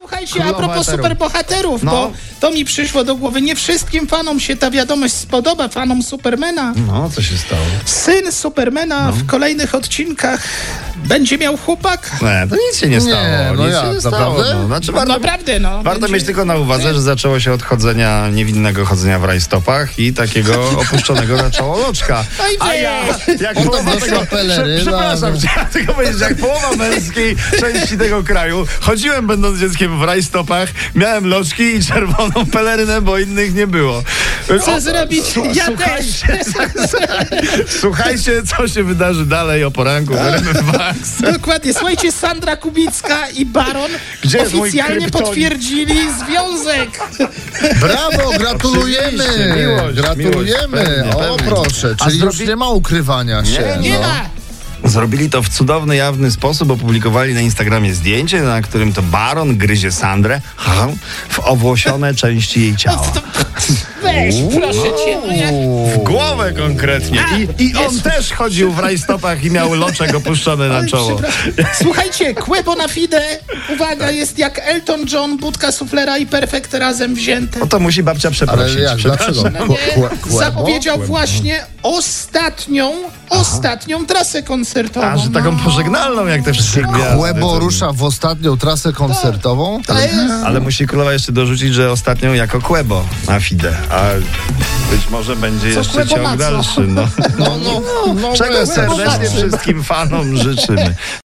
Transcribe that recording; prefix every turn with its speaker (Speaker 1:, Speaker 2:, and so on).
Speaker 1: momencie a propos
Speaker 2: Królowa eteru.
Speaker 1: superbohaterów,
Speaker 2: No.
Speaker 1: bo to mi przyszło do głowy. Nie wszystkim fanom się ta wiadomość spodoba, fanom Supermana.
Speaker 2: No, co się stało?
Speaker 1: Syn
Speaker 2: No.
Speaker 1: Supermana w kolejnych odcinkach będzie miał chłopaka.
Speaker 2: Nie, to nic się nie stało.
Speaker 3: no
Speaker 2: nic
Speaker 3: ja,
Speaker 2: się nie
Speaker 3: naprawdę?
Speaker 2: stało. No. Znaczy, warto,
Speaker 1: Naprawdę, no.
Speaker 2: warto
Speaker 1: będzie-
Speaker 2: mieć tylko na uwadze, że zaczęło się od chodzenia, niewinnego chodzenia w rajstopach i takiego opuszczonego na czoło loczka.
Speaker 1: No i
Speaker 2: A ja, jak połowa
Speaker 3: dostał
Speaker 2: tego, prze,
Speaker 3: peleryna,
Speaker 2: przepraszam
Speaker 3: no.
Speaker 2: cię, ja tylko powiedzieć, że jak połowa męskiej części tego kraju, chodziłem będąc dzieckiem w rajstopach, miałem loczki i czerwoną pelerynę, bo innych nie było.
Speaker 1: Co zrobić? Ja też.
Speaker 2: Słuchajcie, słuchajcie, co się wydarzy dalej o poranku w RMF
Speaker 1: Dokładnie. Słuchajcie, Sandra Kubicka i Baron
Speaker 2: Gdzie jest mój
Speaker 1: oficjalnie
Speaker 2: kryptonim?
Speaker 1: potwierdzili związek.
Speaker 3: Brawo, gratulujemy!
Speaker 2: Oczywiście, miłość,
Speaker 3: gratulujemy!
Speaker 2: miłość, pewnie,
Speaker 3: o
Speaker 2: pewnie.
Speaker 3: proszę,
Speaker 2: A
Speaker 3: czyli już
Speaker 2: zrobi-
Speaker 3: nie ma ukrywania się.
Speaker 1: Nie
Speaker 3: no.
Speaker 1: ma.
Speaker 2: Zrobili to w cudowny, jawny sposób. Opublikowali na Instagramie zdjęcie, na którym to baron gryzie Sandrę ha, w owłosione części jej ciała.
Speaker 1: Weź, proszę cię. no ja-
Speaker 2: W głowę konkretnie. I, i on też chodził w rajstopach i miał loczek opuszczony na czoło.
Speaker 1: Słuchajcie, Quebo na Fide, uwaga, jest jak Elton John, Budka Suflera i Perfekt razem wzięte.
Speaker 2: No to musi babcia
Speaker 3: Ale
Speaker 2: przeprosić.
Speaker 3: jak,
Speaker 2: Przepraszam.
Speaker 3: dlaczego? Kłe- kłe- kłebo?
Speaker 1: Zapowiedział właśnie ostatnią, ostatnią trasę koncertową. no.
Speaker 2: A, że taką pożegnalną, jak te wszystkie gwiazdy.
Speaker 3: Kłebo
Speaker 2: to-
Speaker 3: rusza w ostatnią trasę koncertową.
Speaker 1: Ale jest-
Speaker 2: Ale musi królowa jeszcze dorzucić, że ostatnią jako Kłebo na Fide. A być może będzie jeszcze
Speaker 1: Kłebo ma
Speaker 2: ciąg
Speaker 1: co?
Speaker 2: dalszy. No.
Speaker 3: No, no, no,
Speaker 2: Czego
Speaker 3: bez-
Speaker 2: no, serdecznie wszystkim fanom życzymy.